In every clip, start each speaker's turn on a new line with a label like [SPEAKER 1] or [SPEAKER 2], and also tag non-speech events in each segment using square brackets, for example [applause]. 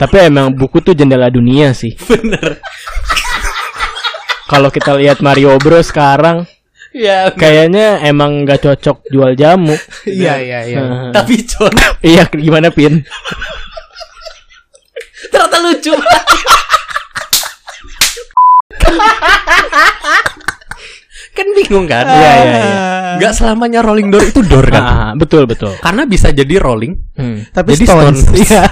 [SPEAKER 1] Tapi emang buku tuh jendela dunia sih.
[SPEAKER 2] Bener.
[SPEAKER 1] Kalau kita lihat Mario Bros sekarang,
[SPEAKER 2] Ya,
[SPEAKER 1] kayaknya emang nggak cocok jual jamu. [laughs]
[SPEAKER 2] Iya,
[SPEAKER 3] iya,
[SPEAKER 2] [laughs]
[SPEAKER 1] iya.
[SPEAKER 2] tapi John
[SPEAKER 1] Iya, gimana Pin?
[SPEAKER 2] ternyata lucu. kan bingung kan?
[SPEAKER 1] Iya, iya, iya.
[SPEAKER 2] Gak selamanya rolling door itu door kan?
[SPEAKER 1] Ah, betul betul.
[SPEAKER 2] Karena bisa jadi rolling.
[SPEAKER 1] Hmm.
[SPEAKER 3] Tapi
[SPEAKER 2] Jadi
[SPEAKER 3] Stones.
[SPEAKER 1] [laughs]
[SPEAKER 2] Stones.
[SPEAKER 3] [laughs] Iya.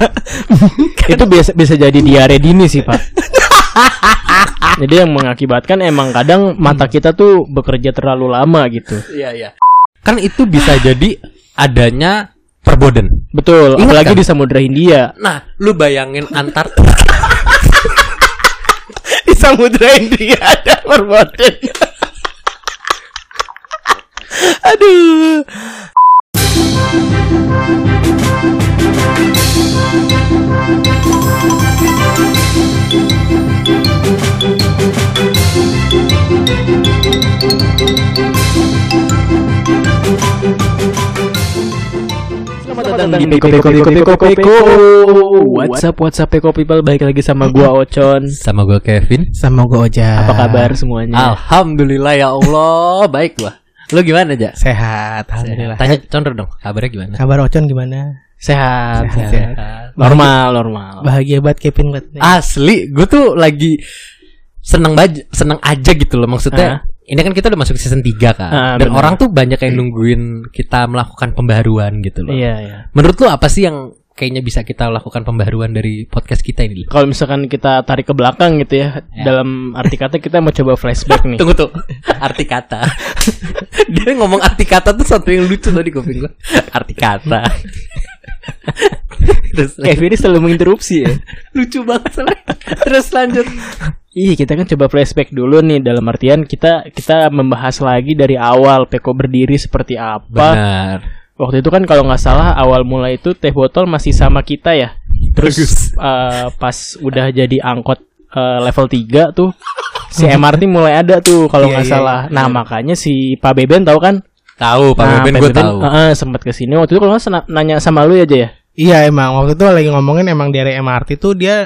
[SPEAKER 3] kan.
[SPEAKER 1] Itu biasa bisa jadi diare dini sih
[SPEAKER 3] [laughs]
[SPEAKER 1] Pak. Jadi yang mengakibatkan emang kadang
[SPEAKER 3] Hmm.
[SPEAKER 1] mata kita tuh bekerja terlalu lama gitu.
[SPEAKER 2] Iya, iya. Kan itu bisa jadi adanya perboden.
[SPEAKER 1] Betul,
[SPEAKER 2] Ingat
[SPEAKER 1] apalagi
[SPEAKER 2] kan?
[SPEAKER 1] di Samudra Hindia.
[SPEAKER 2] Nah, lu bayangin [laughs] antar
[SPEAKER 3] [laughs] Di Samudra India ada perboden. Aduh.
[SPEAKER 1] Selamat datang di Peko Peko Peko Peko Peko. What's up What's up Peko people balik lagi sama gua Ocon.
[SPEAKER 2] sama gue Kevin.
[SPEAKER 3] Sama gue aja.
[SPEAKER 1] Apa
[SPEAKER 2] Ah.
[SPEAKER 1] kabar semuanya?
[SPEAKER 2] Alhamdulillah ya Allah, baik gua. Lu gimana, Ja?
[SPEAKER 3] Sehat, alhamdulillah.
[SPEAKER 2] Tanya Condor dong, kabarnya gimana?
[SPEAKER 3] Kabar Ocon gimana?
[SPEAKER 1] Sehat.
[SPEAKER 3] Sehat.
[SPEAKER 1] Normal, normal.
[SPEAKER 3] Bahagia banget Kevin buat nih.
[SPEAKER 2] Asli, gue tuh lagi seneng baj seneng aja gitu loh maksudnya. Ini kan kita udah masuk season 3 kan.
[SPEAKER 1] Ah,
[SPEAKER 2] dan
[SPEAKER 1] bener.
[SPEAKER 2] orang tuh banyak yang nungguin kita melakukan pembaharuan gitu loh.
[SPEAKER 1] Iya, iya.
[SPEAKER 2] Menurut lu apa sih yang kayaknya bisa kita lakukan pembaharuan dari podcast kita ini? Li?
[SPEAKER 1] Kalau misalkan kita tarik ke belakang gitu ya, dalam arti kata kita mau coba flashback nih.
[SPEAKER 2] Tunggu tuh, [laughs] arti kata. [laughs] Dia ngomong arti kata tuh satu yang lucu tadi kuping gue. [laughs] Arti kata. [laughs] Terus
[SPEAKER 1] Kevin ini selalu menginterupsi ya.
[SPEAKER 2] lucu banget soalnya. Terus lanjut.
[SPEAKER 1] Iya, kita kan coba flashback dulu nih dalam artian kita kita membahas lagi dari awal Peko berdiri seperti apa.
[SPEAKER 2] Benar.
[SPEAKER 1] Waktu itu kan kalau nggak salah awal mulai itu teh botol masih sama kita ya. Terus eh, pas udah jadi angkot eh, level 3 tuh si MRT mulai ada tuh kalau
[SPEAKER 3] Iya,
[SPEAKER 1] nggak
[SPEAKER 3] iya,
[SPEAKER 1] salah. Nah, makanya si Pak Beben tahu kan?
[SPEAKER 2] Tahu, Pak
[SPEAKER 1] nah,
[SPEAKER 2] Beben gue tahu.
[SPEAKER 1] eh, eh, sempat ke sini waktu itu kalau nggak salah nanya sama lu aja ya.
[SPEAKER 3] Iya emang waktu itu lagi ngomongin emang dari MRT tuh dia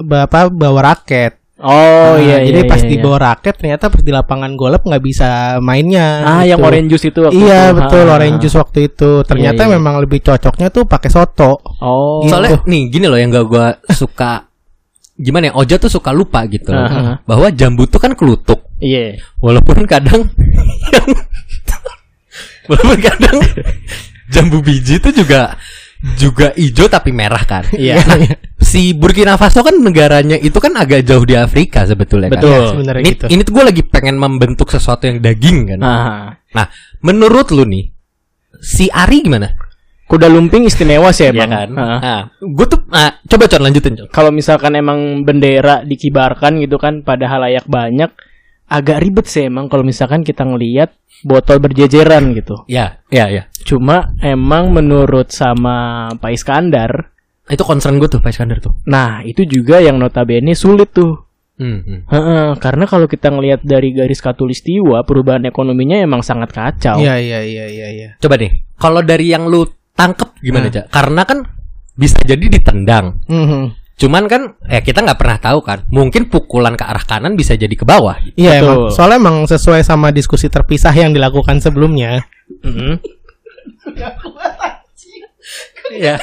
[SPEAKER 3] bapak bawa raket.
[SPEAKER 1] Oh
[SPEAKER 3] Nah,
[SPEAKER 1] iya
[SPEAKER 3] Jadi
[SPEAKER 1] iya,
[SPEAKER 3] pas
[SPEAKER 1] iya,
[SPEAKER 3] dibawa raket ternyata pas di lapangan golep nggak bisa mainnya.
[SPEAKER 1] iya. Ah, yang
[SPEAKER 3] gitu.
[SPEAKER 1] orange juice itu waktu
[SPEAKER 3] Iya
[SPEAKER 1] itu.
[SPEAKER 3] betul
[SPEAKER 1] Ah, ah,
[SPEAKER 3] orange
[SPEAKER 1] ah.
[SPEAKER 3] juice waktu itu. Ternyata
[SPEAKER 1] Iya, iya.
[SPEAKER 3] memang lebih cocoknya tuh pakai soto.
[SPEAKER 1] Oh.
[SPEAKER 3] Iya.
[SPEAKER 2] Soalnya nih gini loh yang gak gue suka Gimana ya Oja tuh suka lupa gitu loh
[SPEAKER 1] Aha.
[SPEAKER 2] Bahwa jambu tuh kan kelutuk
[SPEAKER 1] Iya.
[SPEAKER 2] Walaupun kadang Walaupun kadang Jambu biji tuh juga Juga hijau tapi merah kan
[SPEAKER 1] Iya.
[SPEAKER 2] Nah, Si Burkina Faso kan negaranya itu kan agak jauh di Afrika sebetulnya kan
[SPEAKER 1] Betul.
[SPEAKER 3] Ya, sebenarnya
[SPEAKER 2] Ini,
[SPEAKER 3] gitu.
[SPEAKER 2] ini tuh gue lagi pengen membentuk sesuatu yang daging kan
[SPEAKER 1] Ah.
[SPEAKER 2] Nah menurut lu nih Si Ari gimana?
[SPEAKER 1] Kuda lumping istimewa sih
[SPEAKER 2] Iya
[SPEAKER 1] emang.
[SPEAKER 2] kan?
[SPEAKER 1] Ah.
[SPEAKER 2] Nah, gue tuh nah, coba con lanjutin con.
[SPEAKER 1] kalau misalkan emang bendera dikibarkan gitu kan pada halayak banyak agak ribet sih emang kalau misalkan kita ngelihat botol berjejeran gitu.
[SPEAKER 2] Ya, ya, ya.
[SPEAKER 1] Cuma emang menurut sama Pak Iskandar,
[SPEAKER 2] Itu concern gue tuh Pak Iskandar tuh.
[SPEAKER 1] nah itu juga yang notabene sulit tuh.
[SPEAKER 2] Hmm.
[SPEAKER 1] Heeh, karena kalau kita ngelihat dari garis katulistiwa perubahan ekonominya emang sangat kacau.
[SPEAKER 3] Iya iya iya iya. iya.
[SPEAKER 2] Coba deh, kalau dari yang lu tangkep gimana aja? Karena kan bisa jadi ditendang.
[SPEAKER 3] Mhm.
[SPEAKER 2] Cuman kan ya kita nggak pernah tahu kan. Mungkin pukulan ke arah kanan bisa jadi ke bawah. gitu.
[SPEAKER 3] Iya
[SPEAKER 1] Betul.
[SPEAKER 3] emang soalnya emang sesuai sama diskusi terpisah yang dilakukan sebelumnya.
[SPEAKER 1] Mm-mm.
[SPEAKER 2] Iya.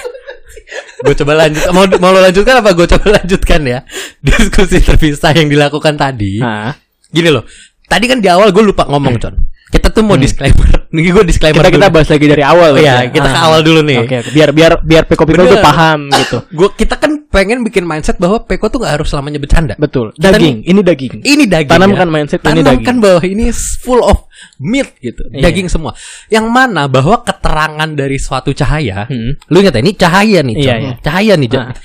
[SPEAKER 2] gue coba lanjut. Mau mau lo lanjutkan apa gue coba lanjutkan ya? Diskusi terpisah yang dilakukan tadi.
[SPEAKER 1] Nah,
[SPEAKER 2] Gini loh. Tadi kan di awal gue lupa ngomong con. Kita tuh mau disclaimer. [laughs] Nih gue disclaimer.
[SPEAKER 1] Hmm. kita kita
[SPEAKER 2] dulu.
[SPEAKER 1] bahas lagi dari awal
[SPEAKER 2] Oh iya,
[SPEAKER 1] ya.
[SPEAKER 2] kita ke
[SPEAKER 1] Ah.
[SPEAKER 2] awal dulu nih.
[SPEAKER 1] Oke, oke. biar biar biar Peko Peko
[SPEAKER 2] Bener.
[SPEAKER 1] tuh paham gitu.
[SPEAKER 2] Gua kita kan pengen bikin mindset bahwa Peko tuh nggak harus selamanya bercanda.
[SPEAKER 1] Betul.
[SPEAKER 2] Kita
[SPEAKER 1] Daging, ini daging.
[SPEAKER 2] Ini daging. ya.
[SPEAKER 1] Tanamkan mindset ini
[SPEAKER 2] Tanamkan
[SPEAKER 1] daging.
[SPEAKER 2] bahwa ini full of meat gitu,
[SPEAKER 1] Iya.
[SPEAKER 2] daging semua. Yang mana bahwa keterangan dari suatu cahaya,
[SPEAKER 1] Hmm.
[SPEAKER 2] lu ingat ya, ini cahaya nih, Jon.
[SPEAKER 1] Iya, iya.
[SPEAKER 2] cahaya nih, Jon.
[SPEAKER 1] Ah.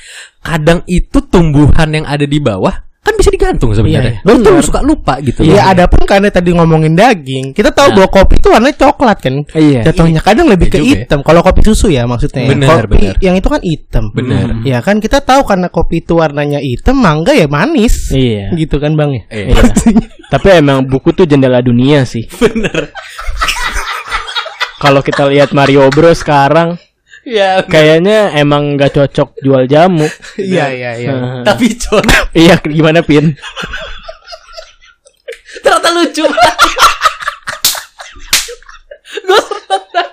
[SPEAKER 2] Kadang itu tumbuhan yang ada di bawah kan bisa digantung
[SPEAKER 1] Iya,
[SPEAKER 2] sebenarnya.
[SPEAKER 1] iya.
[SPEAKER 2] Lu tuh
[SPEAKER 1] Bener.
[SPEAKER 2] suka lupa gitu.
[SPEAKER 3] Iya
[SPEAKER 2] loh.
[SPEAKER 3] ada pun karena tadi ngomongin daging, kita tahu bahwa kopi itu warnanya coklat kan.
[SPEAKER 1] Iya.
[SPEAKER 3] Jatuhnya kadang lebih
[SPEAKER 2] Iya
[SPEAKER 3] ke
[SPEAKER 2] juga ya.
[SPEAKER 3] hitam. Kalau kopi susu ya maksudnya. ya.
[SPEAKER 2] Bener,
[SPEAKER 3] kopi
[SPEAKER 2] bener.
[SPEAKER 3] yang itu kan hitam.
[SPEAKER 2] Bener.
[SPEAKER 3] Ya kan kita tahu karena kopi itu warnanya hitam, mangga ya manis.
[SPEAKER 1] Iya.
[SPEAKER 3] Gitu kan Bang ya.
[SPEAKER 1] [laughs]
[SPEAKER 2] Iya. [laughs]
[SPEAKER 1] Iya. Tapi emang buku tuh jendela dunia sih.
[SPEAKER 2] Bener.
[SPEAKER 1] Kalau kita lihat Mario Bros sekarang,
[SPEAKER 2] Iya.
[SPEAKER 1] Kayaknya emang nggak cocok jual jamu. [laughs]
[SPEAKER 3] Iya iya iya.
[SPEAKER 1] Heeh.
[SPEAKER 2] Tapi John
[SPEAKER 1] iya gimana pin?
[SPEAKER 2] ternyata lucu. gue sempet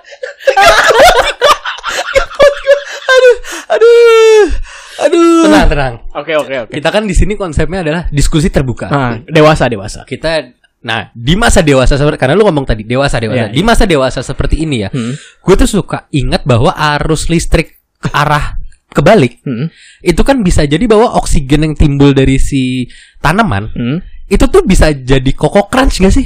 [SPEAKER 2] aduh aduh aduh tenang tenang
[SPEAKER 1] Oke oke oke.
[SPEAKER 2] kita kan di sini konsepnya adalah diskusi terbuka
[SPEAKER 1] Ah, dewasa dewasa.
[SPEAKER 2] kita nah di masa dewasa seperti karena lu ngomong tadi dewasa dewasa
[SPEAKER 1] Iya,
[SPEAKER 2] di masa dewasa seperti ini ya
[SPEAKER 1] Hmm.
[SPEAKER 2] gue tuh suka ingat bahwa arus listrik ke arah kebalik
[SPEAKER 1] Hmm.
[SPEAKER 2] itu kan bisa jadi bahwa oksigen yang timbul dari si tanaman
[SPEAKER 1] Hmm.
[SPEAKER 2] itu tuh bisa jadi koko crunch gak sih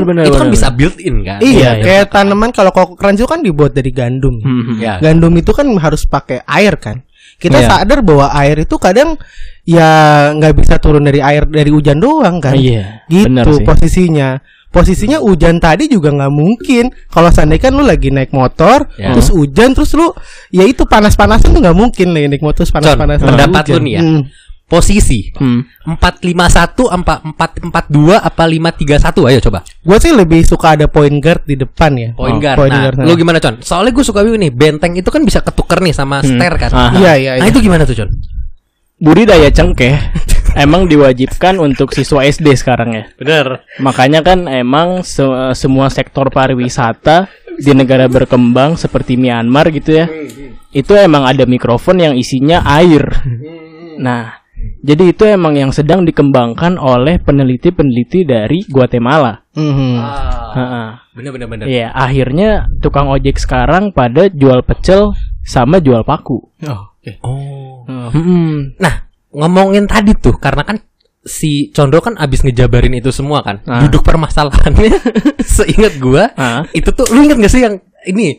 [SPEAKER 1] Bener,
[SPEAKER 2] kan
[SPEAKER 1] bener,
[SPEAKER 2] itu kan
[SPEAKER 1] bener,
[SPEAKER 2] bisa built in kan
[SPEAKER 1] Iya,
[SPEAKER 3] Iya,
[SPEAKER 1] iya.
[SPEAKER 3] kayak tanaman kalau koko crunch itu kan dibuat dari gandum.
[SPEAKER 1] Hmm, hmm.
[SPEAKER 2] ya
[SPEAKER 3] Gandum itu kan harus pakai air kan. Kita
[SPEAKER 2] Iya.
[SPEAKER 3] sadar bahwa air itu kadang ya nggak bisa turun dari air dari hujan doang kan.
[SPEAKER 1] Iya. benar
[SPEAKER 3] gitu
[SPEAKER 1] sih.
[SPEAKER 3] posisinya posisinya hujan tadi juga nggak mungkin kalau seandainya kan lu lagi naik motor
[SPEAKER 2] Ya.
[SPEAKER 3] terus hujan terus lu ya itu panas-panasan tuh nggak mungkin lagi naik motor terus panas-panasan
[SPEAKER 2] Con, pendapat lu
[SPEAKER 3] hujan.
[SPEAKER 2] nih ya.
[SPEAKER 3] Hmm.
[SPEAKER 2] posisi
[SPEAKER 1] Hmm.
[SPEAKER 2] 451 apa 442 apa 531 ayo coba
[SPEAKER 3] Gua sih lebih suka ada point guard di depan ya
[SPEAKER 2] point
[SPEAKER 3] Oh,
[SPEAKER 2] guard nah lu gimana con soalnya gue suka bingung nih benteng itu kan bisa ketuker nih sama
[SPEAKER 1] Hmm.
[SPEAKER 2] stair kan
[SPEAKER 1] Aha.
[SPEAKER 3] iya iya
[SPEAKER 2] nah
[SPEAKER 3] iya.
[SPEAKER 2] itu gimana tuh con
[SPEAKER 1] Budidaya cengkeh [laughs] emang diwajibkan untuk siswa SD sekarang ya.
[SPEAKER 2] bener
[SPEAKER 1] Makanya kan emang se- semua sektor pariwisata di negara berkembang seperti Myanmar gitu ya. Itu emang ada mikrofon yang isinya air. Nah, jadi itu emang yang sedang dikembangkan oleh peneliti-peneliti dari Guatemala.
[SPEAKER 3] Mhm.
[SPEAKER 1] Heeh.
[SPEAKER 2] Ah, bener bener bener
[SPEAKER 1] Iya, akhirnya tukang ojek sekarang pada jual pecel sama jual paku.
[SPEAKER 2] oh
[SPEAKER 1] Hmm.
[SPEAKER 2] Nah, ngomongin tadi tuh karena kan si Condro kan abis ngejabarin itu semua kan.
[SPEAKER 1] Ah.
[SPEAKER 2] Duduk permasalahannya [laughs] seingat gua
[SPEAKER 1] Ah.
[SPEAKER 2] itu tuh lu inget gak sih yang ini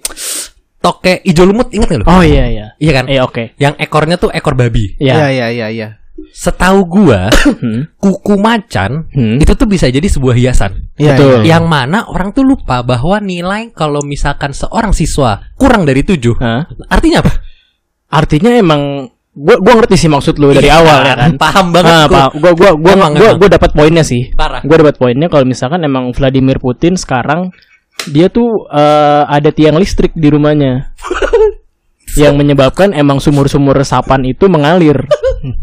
[SPEAKER 2] toke ijo lumut inget gak lu?
[SPEAKER 1] Oh iya iya.
[SPEAKER 2] Iya kan?
[SPEAKER 1] Eh oke.
[SPEAKER 2] Yang ekornya tuh ekor babi.
[SPEAKER 1] Iya.
[SPEAKER 3] iya iya iya iya
[SPEAKER 2] Setahu gua
[SPEAKER 1] Hmm.
[SPEAKER 2] kuku macan
[SPEAKER 1] Hmm.
[SPEAKER 2] itu tuh bisa jadi sebuah hiasan.
[SPEAKER 3] Iya,
[SPEAKER 1] Betul.
[SPEAKER 3] iya.
[SPEAKER 2] Yang mana orang tuh lupa bahwa nilai kalau misalkan seorang siswa kurang dari tujuh,
[SPEAKER 1] Hah?
[SPEAKER 2] artinya apa?
[SPEAKER 1] Artinya emang gua gua ngerti sih maksud lu dari awal ya kan.
[SPEAKER 2] Paham Iya, banget
[SPEAKER 1] Nah,
[SPEAKER 2] gua.
[SPEAKER 1] Pak, gua gua gua
[SPEAKER 2] Emang,
[SPEAKER 1] gua,
[SPEAKER 2] emang.
[SPEAKER 1] gua dapat poinnya sih.
[SPEAKER 2] Parah.
[SPEAKER 1] Gua dapat poinnya kalau misalkan emang Vladimir Putin sekarang dia tuh eh, ada tiang listrik di
[SPEAKER 2] [laughs]
[SPEAKER 1] rumahnya. yang menyebabkan emang sumur-sumur resapan itu mengalir.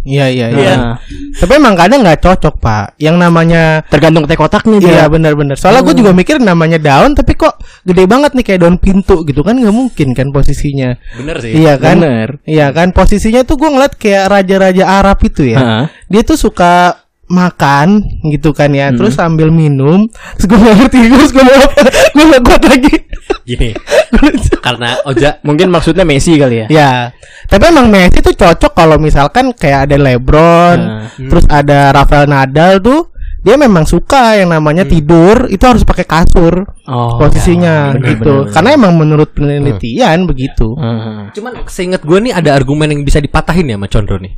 [SPEAKER 3] iya iya iya
[SPEAKER 1] Nah,
[SPEAKER 3] tapi emang kadang nggak cocok pak yang namanya
[SPEAKER 1] tergantung teh kotaknya dia.
[SPEAKER 3] Iya benar-benar. Soalnya
[SPEAKER 2] Hmm.
[SPEAKER 3] gue juga mikir namanya daun, tapi kok gede banget nih kayak daun pintu gitu kan nggak mungkin kan posisinya.
[SPEAKER 2] Bener sih.
[SPEAKER 3] Iya kan?
[SPEAKER 1] Bener.
[SPEAKER 3] Iya kan? Posisinya tuh gue ngeliat kayak raja-raja Arab itu ya.
[SPEAKER 1] Heeh.
[SPEAKER 3] Dia tuh suka makan gitu kan ya. Terus
[SPEAKER 1] Hmm.
[SPEAKER 3] sambil minum. Terus gue nggak ngerti terus gue mau [laughs] gue nggak kuat
[SPEAKER 1] [laughs]
[SPEAKER 3] lagi.
[SPEAKER 2] [laughs] Gini, karena Oja
[SPEAKER 1] Mungkin maksudnya Messi kali
[SPEAKER 2] Iya.
[SPEAKER 1] ya.
[SPEAKER 3] ya. Tapi emang Messi tuh cocok kalau misalkan kayak ada LeBron,
[SPEAKER 1] Nah.
[SPEAKER 3] terus ada Rafael Nadal tuh. Dia memang suka yang namanya tidur itu harus pakai kasur
[SPEAKER 1] Hmm. Oh.
[SPEAKER 3] posisinya
[SPEAKER 1] bener, bener,
[SPEAKER 3] gitu.
[SPEAKER 1] Hmm. bener.
[SPEAKER 3] Karena emang menurut penelitian begitu.
[SPEAKER 1] Heeh.
[SPEAKER 2] Cuman seingat gue nih ada argumen yang bisa dipatahin ya sama Condro nih.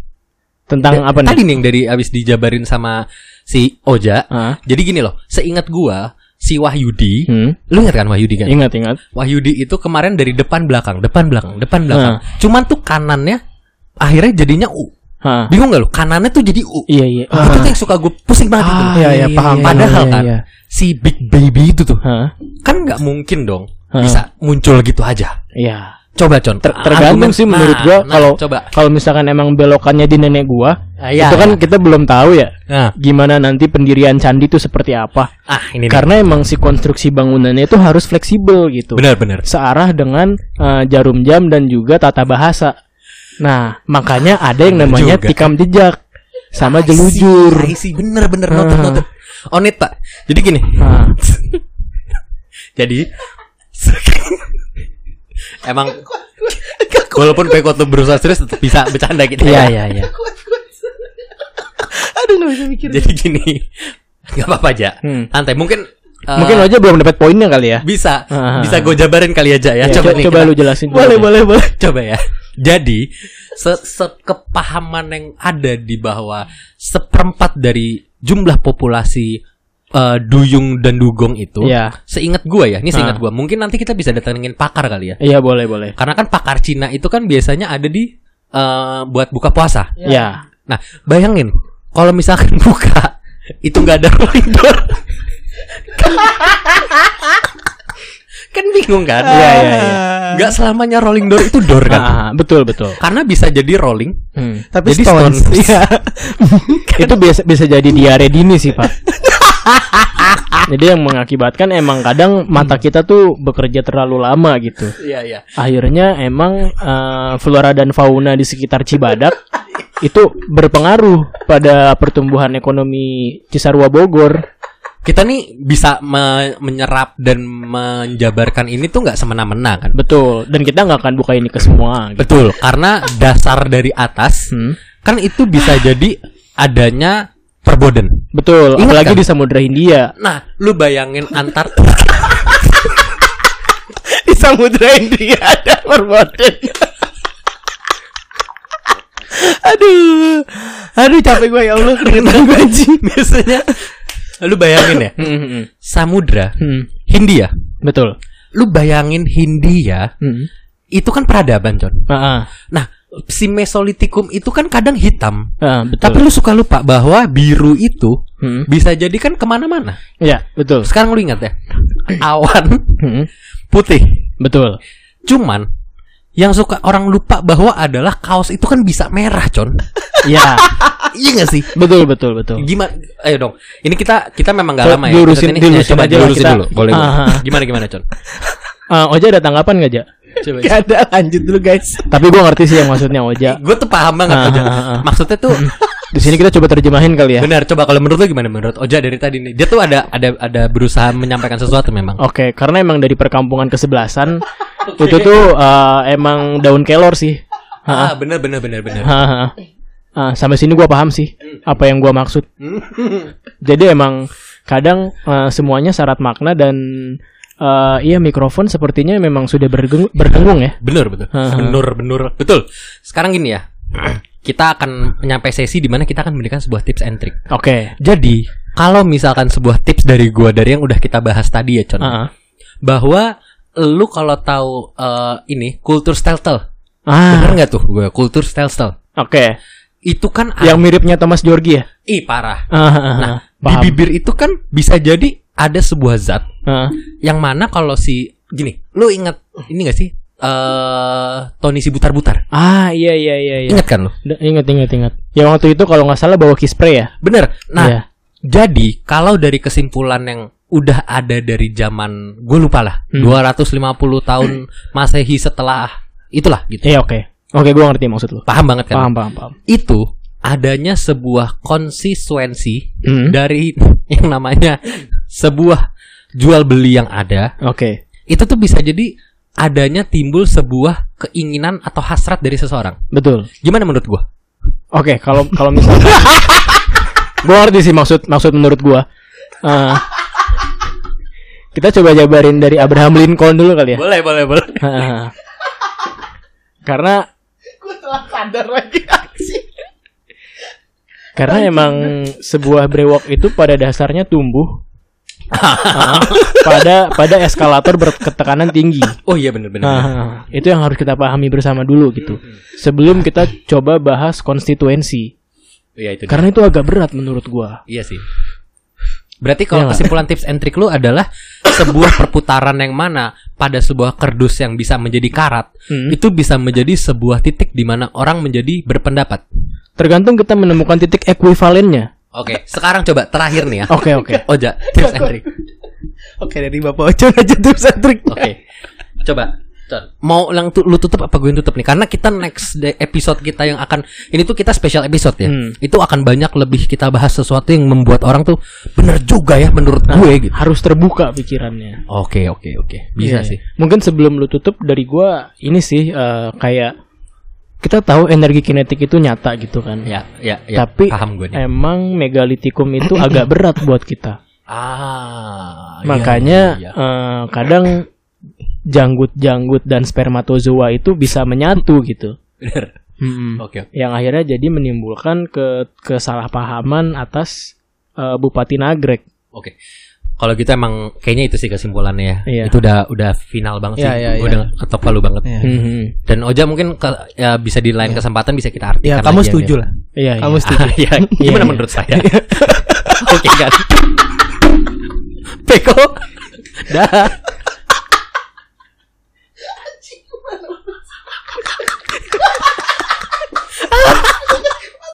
[SPEAKER 1] Tentang apa nih?
[SPEAKER 2] Iya, Tadi nih yang dari abis dijabarin sama si Oja.
[SPEAKER 1] Heeh.
[SPEAKER 2] Jadi gini loh, seingat gue si Wahyudi,
[SPEAKER 1] Nah, Hmm.
[SPEAKER 2] lu ingat kan Wahyudi kan?
[SPEAKER 1] Ingat ingat.
[SPEAKER 2] Wahyudi itu kemarin dari depan belakang, depan belakang, depan belakang. Cuman tuh kanannya akhirnya jadinya U.
[SPEAKER 1] Heeh.
[SPEAKER 2] Bingung gak lu? Kanannya tuh jadi U.
[SPEAKER 1] Iya iya.
[SPEAKER 2] Itu tuh yang suka gue pusing banget itu.
[SPEAKER 3] Ah, iya, iya, paham,
[SPEAKER 1] iya,
[SPEAKER 2] Padahal
[SPEAKER 1] iya,
[SPEAKER 2] kan
[SPEAKER 1] iya.
[SPEAKER 2] si Big Baby itu tuh
[SPEAKER 1] Heeh.
[SPEAKER 2] kan nggak mungkin dong
[SPEAKER 1] Heeh.
[SPEAKER 2] bisa muncul gitu aja.
[SPEAKER 1] Iya.
[SPEAKER 2] Coba Con.
[SPEAKER 1] Ter- tergantung
[SPEAKER 2] Ah, argumen-
[SPEAKER 1] sih menurut
[SPEAKER 2] Nah,
[SPEAKER 1] gua
[SPEAKER 2] nah,
[SPEAKER 1] kalau
[SPEAKER 2] coba.
[SPEAKER 1] kalau misalkan emang belokannya di nenek gua
[SPEAKER 2] Ah, iya,
[SPEAKER 1] itu kan
[SPEAKER 2] iya.
[SPEAKER 1] kita belum tahu ya
[SPEAKER 2] Nah,
[SPEAKER 1] gimana nanti pendirian candi itu seperti apa
[SPEAKER 2] ah ini nih.
[SPEAKER 1] karena emang si konstruksi bangunannya itu harus fleksibel gitu
[SPEAKER 2] Benar-benar.
[SPEAKER 1] searah dengan eh, jarum jam dan juga tata bahasa nah makanya ada yang namanya
[SPEAKER 2] Juga. Ah,
[SPEAKER 1] tikam jejak sama jelujur
[SPEAKER 2] Isi bener-bener noted
[SPEAKER 1] Ah.
[SPEAKER 2] noted. On it, Pak. Jadi gini.
[SPEAKER 1] Ah.
[SPEAKER 2] [laughs] Jadi [laughs] emang walaupun Peko tuh berusaha serius tetap bisa bercanda gitu.
[SPEAKER 1] iya iya iya
[SPEAKER 3] Aduh nggak bisa mikir.
[SPEAKER 2] Jadi gini. [laughs] Gak apa-apa aja.
[SPEAKER 1] Hmm.
[SPEAKER 2] Santai. Mungkin eh,
[SPEAKER 1] mungkin aja belum dapat poinnya kali ya,
[SPEAKER 2] bisa
[SPEAKER 1] Ah.
[SPEAKER 2] bisa gue jabarin kali aja ya.
[SPEAKER 1] Ya,
[SPEAKER 2] coba
[SPEAKER 1] co-
[SPEAKER 2] nih.
[SPEAKER 1] coba
[SPEAKER 2] kita-
[SPEAKER 1] lu jelasin
[SPEAKER 3] Boleh
[SPEAKER 1] dulu.
[SPEAKER 3] boleh boleh.
[SPEAKER 2] Coba ya. Jadi se- sekepahaman yang ada di bahwa seperempat dari jumlah populasi eh, duyung dan dugong itu,
[SPEAKER 1] Iya.
[SPEAKER 2] seingat gua ya, ini seingat
[SPEAKER 1] Ah.
[SPEAKER 2] gua. Mungkin nanti kita bisa datengin pakar kali ya.
[SPEAKER 1] iya boleh boleh
[SPEAKER 2] Karena kan pakar Cina itu kan biasanya ada di eh, buat buka puasa.
[SPEAKER 1] ya
[SPEAKER 2] Nah, bayangin kalau misalkan [laughs] buka itu nggak ada rolling door. [laughs] kan bingung kan?
[SPEAKER 1] Iya, iya, iya.
[SPEAKER 2] Nggak selamanya rolling door itu door kan?
[SPEAKER 1] Ah, betul betul.
[SPEAKER 2] Karena bisa jadi rolling.
[SPEAKER 1] Hmm.
[SPEAKER 3] Tapi
[SPEAKER 2] Jadi
[SPEAKER 3] stones.
[SPEAKER 2] Stones. [laughs]
[SPEAKER 3] Iya.
[SPEAKER 1] itu biasa bisa jadi diare dini sih
[SPEAKER 2] [laughs]
[SPEAKER 1] pak jadi yang mengakibatkan emang kadang mata kita tuh bekerja terlalu lama gitu
[SPEAKER 2] Iya, iya.
[SPEAKER 1] akhirnya emang eh, flora dan fauna di sekitar
[SPEAKER 2] [laughs]
[SPEAKER 1] Cibadak itu berpengaruh pada pertumbuhan ekonomi Cisarua Bogor
[SPEAKER 2] Kita nih bisa me- menyerap dan menjabarkan ini tuh nggak semena-mena kan?
[SPEAKER 1] betul dan kita nggak akan buka ini ke semua gitu.
[SPEAKER 2] Betul, karena dasar dari atas
[SPEAKER 1] Hmm.
[SPEAKER 2] kan itu bisa jadi adanya perboden.
[SPEAKER 1] betul
[SPEAKER 2] Ingat
[SPEAKER 1] apalagi
[SPEAKER 2] kan?
[SPEAKER 1] di Samudra Hindia
[SPEAKER 2] Nah, lu bayangin [laughs] Antartika
[SPEAKER 3] Di Samudra India ada perboden. aduh. Aduh capek gue ya Allah.
[SPEAKER 2] [laughs]
[SPEAKER 3] Keringetan gue anjing.
[SPEAKER 2] biasanya lu bayangin ya, samudra
[SPEAKER 1] Hmm,
[SPEAKER 2] Hindia.
[SPEAKER 1] betul
[SPEAKER 2] Lu bayangin Hindia,
[SPEAKER 1] Hmm.
[SPEAKER 2] itu kan peradaban, Con.
[SPEAKER 1] Ah, ah.
[SPEAKER 2] Nah, si Mesolitikum itu kan kadang hitam.
[SPEAKER 1] Ah, betul
[SPEAKER 2] Tapi lu suka lupa bahwa biru itu
[SPEAKER 1] Hmm.
[SPEAKER 2] bisa jadi kan kemana-mana.
[SPEAKER 1] ya betul
[SPEAKER 2] Sekarang lu ingat ya, awan [laughs]
[SPEAKER 1] Hmm,
[SPEAKER 2] putih.
[SPEAKER 1] betul
[SPEAKER 2] Cuman yang suka orang lupa bahwa adalah kaos itu kan bisa merah,
[SPEAKER 1] [laughs]
[SPEAKER 2] Con.
[SPEAKER 1] ya
[SPEAKER 2] iya gak sih?
[SPEAKER 1] Betul betul betul.
[SPEAKER 2] Gimana? Ayo dong. Ini kita kita memang gak
[SPEAKER 1] Coba
[SPEAKER 2] lama ya.
[SPEAKER 1] diurusin-
[SPEAKER 2] Episode ini,
[SPEAKER 1] diurusin
[SPEAKER 2] ya, coba
[SPEAKER 1] aja lah
[SPEAKER 2] diurusin
[SPEAKER 1] kita.
[SPEAKER 2] dulu. Boleh. boleh.
[SPEAKER 1] Aha.
[SPEAKER 2] Gimana gimana, Con?
[SPEAKER 1] Ah, Oja ada tanggapan gak, Ja? [laughs]
[SPEAKER 2] Coba.
[SPEAKER 3] Gak ada lanjut dulu guys.
[SPEAKER 1] Tapi gue ngerti sih yang maksudnya Oja.
[SPEAKER 2] Gue tuh paham banget
[SPEAKER 1] Ya. Aha,
[SPEAKER 2] Oja.
[SPEAKER 1] aha.
[SPEAKER 2] Maksudnya tuh
[SPEAKER 1] Di sini kita coba terjemahin kali [laughs] ya.
[SPEAKER 2] benar. Coba kalau menurut lu gimana menurut Oja dari tadi nih? Dia tuh ada ada ada berusaha menyampaikan sesuatu memang.
[SPEAKER 1] Oke, karena emang dari perkampungan
[SPEAKER 3] [laughs]
[SPEAKER 1] kesebelasan
[SPEAKER 3] Oh,
[SPEAKER 1] itu
[SPEAKER 3] iya.
[SPEAKER 1] tuh eh, emang daun kelor sih.
[SPEAKER 2] Ah, benar benar benar benar.
[SPEAKER 1] Hahaha. Ah, sampai sini gua paham sih apa yang gua [laughs] maksud. Jadi emang kadang eh, semuanya syarat makna dan eh, iya mikrofon sepertinya memang sudah bergeng- berdengung ya.
[SPEAKER 2] Benar betul.
[SPEAKER 1] Aha.
[SPEAKER 2] Benar benar. Betul. Sekarang
[SPEAKER 1] [clears throat]
[SPEAKER 2] gini ya. Kita akan nyampe sesi di mana kita akan memberikan sebuah tips and trick.
[SPEAKER 1] Oke.
[SPEAKER 2] Jadi, kalau misalkan sebuah tips dari gua dari yang udah kita bahas tadi ya, Con.
[SPEAKER 1] Ah,
[SPEAKER 2] bahwa lu kalau tahu eh, ini kultur steltel
[SPEAKER 1] Ah,
[SPEAKER 2] bener nggak tuh gue kultur steltel
[SPEAKER 1] oke.
[SPEAKER 2] itu kan ada-
[SPEAKER 1] Yang miripnya Thomas Georgi ya?
[SPEAKER 2] ih parah
[SPEAKER 1] Ah, ah, ah,
[SPEAKER 2] nah di
[SPEAKER 1] paham.
[SPEAKER 2] bibir itu kan bisa jadi ada sebuah zat
[SPEAKER 1] Ah.
[SPEAKER 2] yang mana kalau si gini lu ingat ini gak sih eh Tony si butar butar
[SPEAKER 1] Ah iya iya iya iya.
[SPEAKER 2] ingat kan lu
[SPEAKER 1] Da- Ingat ingat ingat. Ya waktu itu kalau nggak salah bawa kispray ya.
[SPEAKER 2] bener nah
[SPEAKER 1] Iya.
[SPEAKER 2] jadi kalau dari kesimpulan yang udah ada dari zaman gue lupa lah
[SPEAKER 1] Hmm.
[SPEAKER 2] 250 tahun
[SPEAKER 1] [clears throat]
[SPEAKER 2] masehi setelah itulah gitu
[SPEAKER 1] Iya oke. Oke gua ngerti maksud lu.
[SPEAKER 2] paham banget kan
[SPEAKER 1] Paham paham paham.
[SPEAKER 2] itu adanya sebuah konsistensi
[SPEAKER 1] Hmm.
[SPEAKER 2] dari [laughs] yang namanya sebuah jual beli yang ada
[SPEAKER 1] Oke.
[SPEAKER 2] itu tuh bisa jadi adanya timbul sebuah keinginan atau hasrat dari seseorang
[SPEAKER 1] Betul.
[SPEAKER 2] gimana menurut gua
[SPEAKER 1] Oke kalau kalau
[SPEAKER 3] [laughs]
[SPEAKER 1] misalnya gua ngerti sih maksud maksud menurut gua. Eh, kita coba jabarin dari Abraham Lincoln dulu kali ya.
[SPEAKER 2] boleh boleh boleh
[SPEAKER 1] Ah. [laughs] Karena
[SPEAKER 3] Gue telah sadar lagi
[SPEAKER 1] Karena emang sebuah brewok itu pada dasarnya tumbuh ah, pada pada eskalator berketekanan tinggi.
[SPEAKER 2] [laughs] oh iya bener bener
[SPEAKER 1] Nah, itu yang harus kita pahami bersama dulu gitu. Sebelum kita coba bahas konstituensi,
[SPEAKER 2] iya itu dia.
[SPEAKER 1] karena itu agak berat menurut gua.
[SPEAKER 2] iya sih berarti
[SPEAKER 1] Iya
[SPEAKER 2] kalau
[SPEAKER 1] nggak?
[SPEAKER 2] kesimpulan tips and trick lu adalah sebuah perputaran yang mana pada sebuah kerdus yang bisa menjadi karat
[SPEAKER 1] Hmm.
[SPEAKER 2] itu bisa menjadi sebuah titik di mana orang menjadi berpendapat
[SPEAKER 1] Tergantung kita menemukan titik ekuivalennya.
[SPEAKER 2] Oke, sekarang coba terakhir nih ya. [laughs]
[SPEAKER 1] Oke oke.
[SPEAKER 2] Oja, tips and trick.
[SPEAKER 3] Oke dari Bapak Ojon aja tips and trick.
[SPEAKER 2] Oke. Coba. Con. Mau lang tu- lu tutup apa gue yang tutup nih? Karena kita next de- episode kita yang akan ini tuh kita special episode ya.
[SPEAKER 1] Hmm.
[SPEAKER 2] Itu akan banyak lebih kita bahas sesuatu yang membuat orang tuh bener juga ya menurut
[SPEAKER 1] Ah.
[SPEAKER 2] gue gitu.
[SPEAKER 1] [laughs] Harus terbuka pikirannya.
[SPEAKER 2] Oke, oke, oke. Bisa
[SPEAKER 1] Iya.
[SPEAKER 2] sih.
[SPEAKER 1] Mungkin sebelum lu tutup dari gua ini sih eh, kayak kita tahu energi kinetik itu nyata gitu kan.
[SPEAKER 2] Ya, ya, ya.
[SPEAKER 1] Tapi
[SPEAKER 2] paham gue nih.
[SPEAKER 3] Eh.
[SPEAKER 1] emang megalitikum
[SPEAKER 2] [clears throat]
[SPEAKER 1] itu agak berat buat kita.
[SPEAKER 2] ah, Oh, iya,
[SPEAKER 1] Makanya
[SPEAKER 2] iya, iya.
[SPEAKER 1] eh, kadang janggut-janggut dan spermatozoa itu bisa menyatu gitu.
[SPEAKER 2] Bener.
[SPEAKER 1] Mm-mm.
[SPEAKER 2] Oke. oke.
[SPEAKER 1] Yang akhirnya jadi menimbulkan ke kesalahpahaman atas eh, Bupati Nagrek.
[SPEAKER 2] Oke. Kalau gitu emang kayaknya itu sih kesimpulannya ya.
[SPEAKER 1] Iya.
[SPEAKER 2] Itu udah udah final banget sih.
[SPEAKER 3] Iya, iya,
[SPEAKER 2] gue
[SPEAKER 3] iya.
[SPEAKER 2] udah ketok palu banget.
[SPEAKER 3] Iya.
[SPEAKER 1] Mhm.
[SPEAKER 2] Dan Oja mungkin ke- ya bisa di lain kesempatan bisa kita artikan.
[SPEAKER 3] Ya kamu
[SPEAKER 2] lagi
[SPEAKER 3] setuju
[SPEAKER 2] ya.
[SPEAKER 3] lah.
[SPEAKER 1] Iya, iya.
[SPEAKER 3] Kamu
[SPEAKER 2] [laughs]
[SPEAKER 3] setuju.
[SPEAKER 2] Ah, ya, gimana
[SPEAKER 1] Iya, iya.
[SPEAKER 2] menurut
[SPEAKER 3] [laughs]
[SPEAKER 2] saya? Oke kan. Peko. Dah.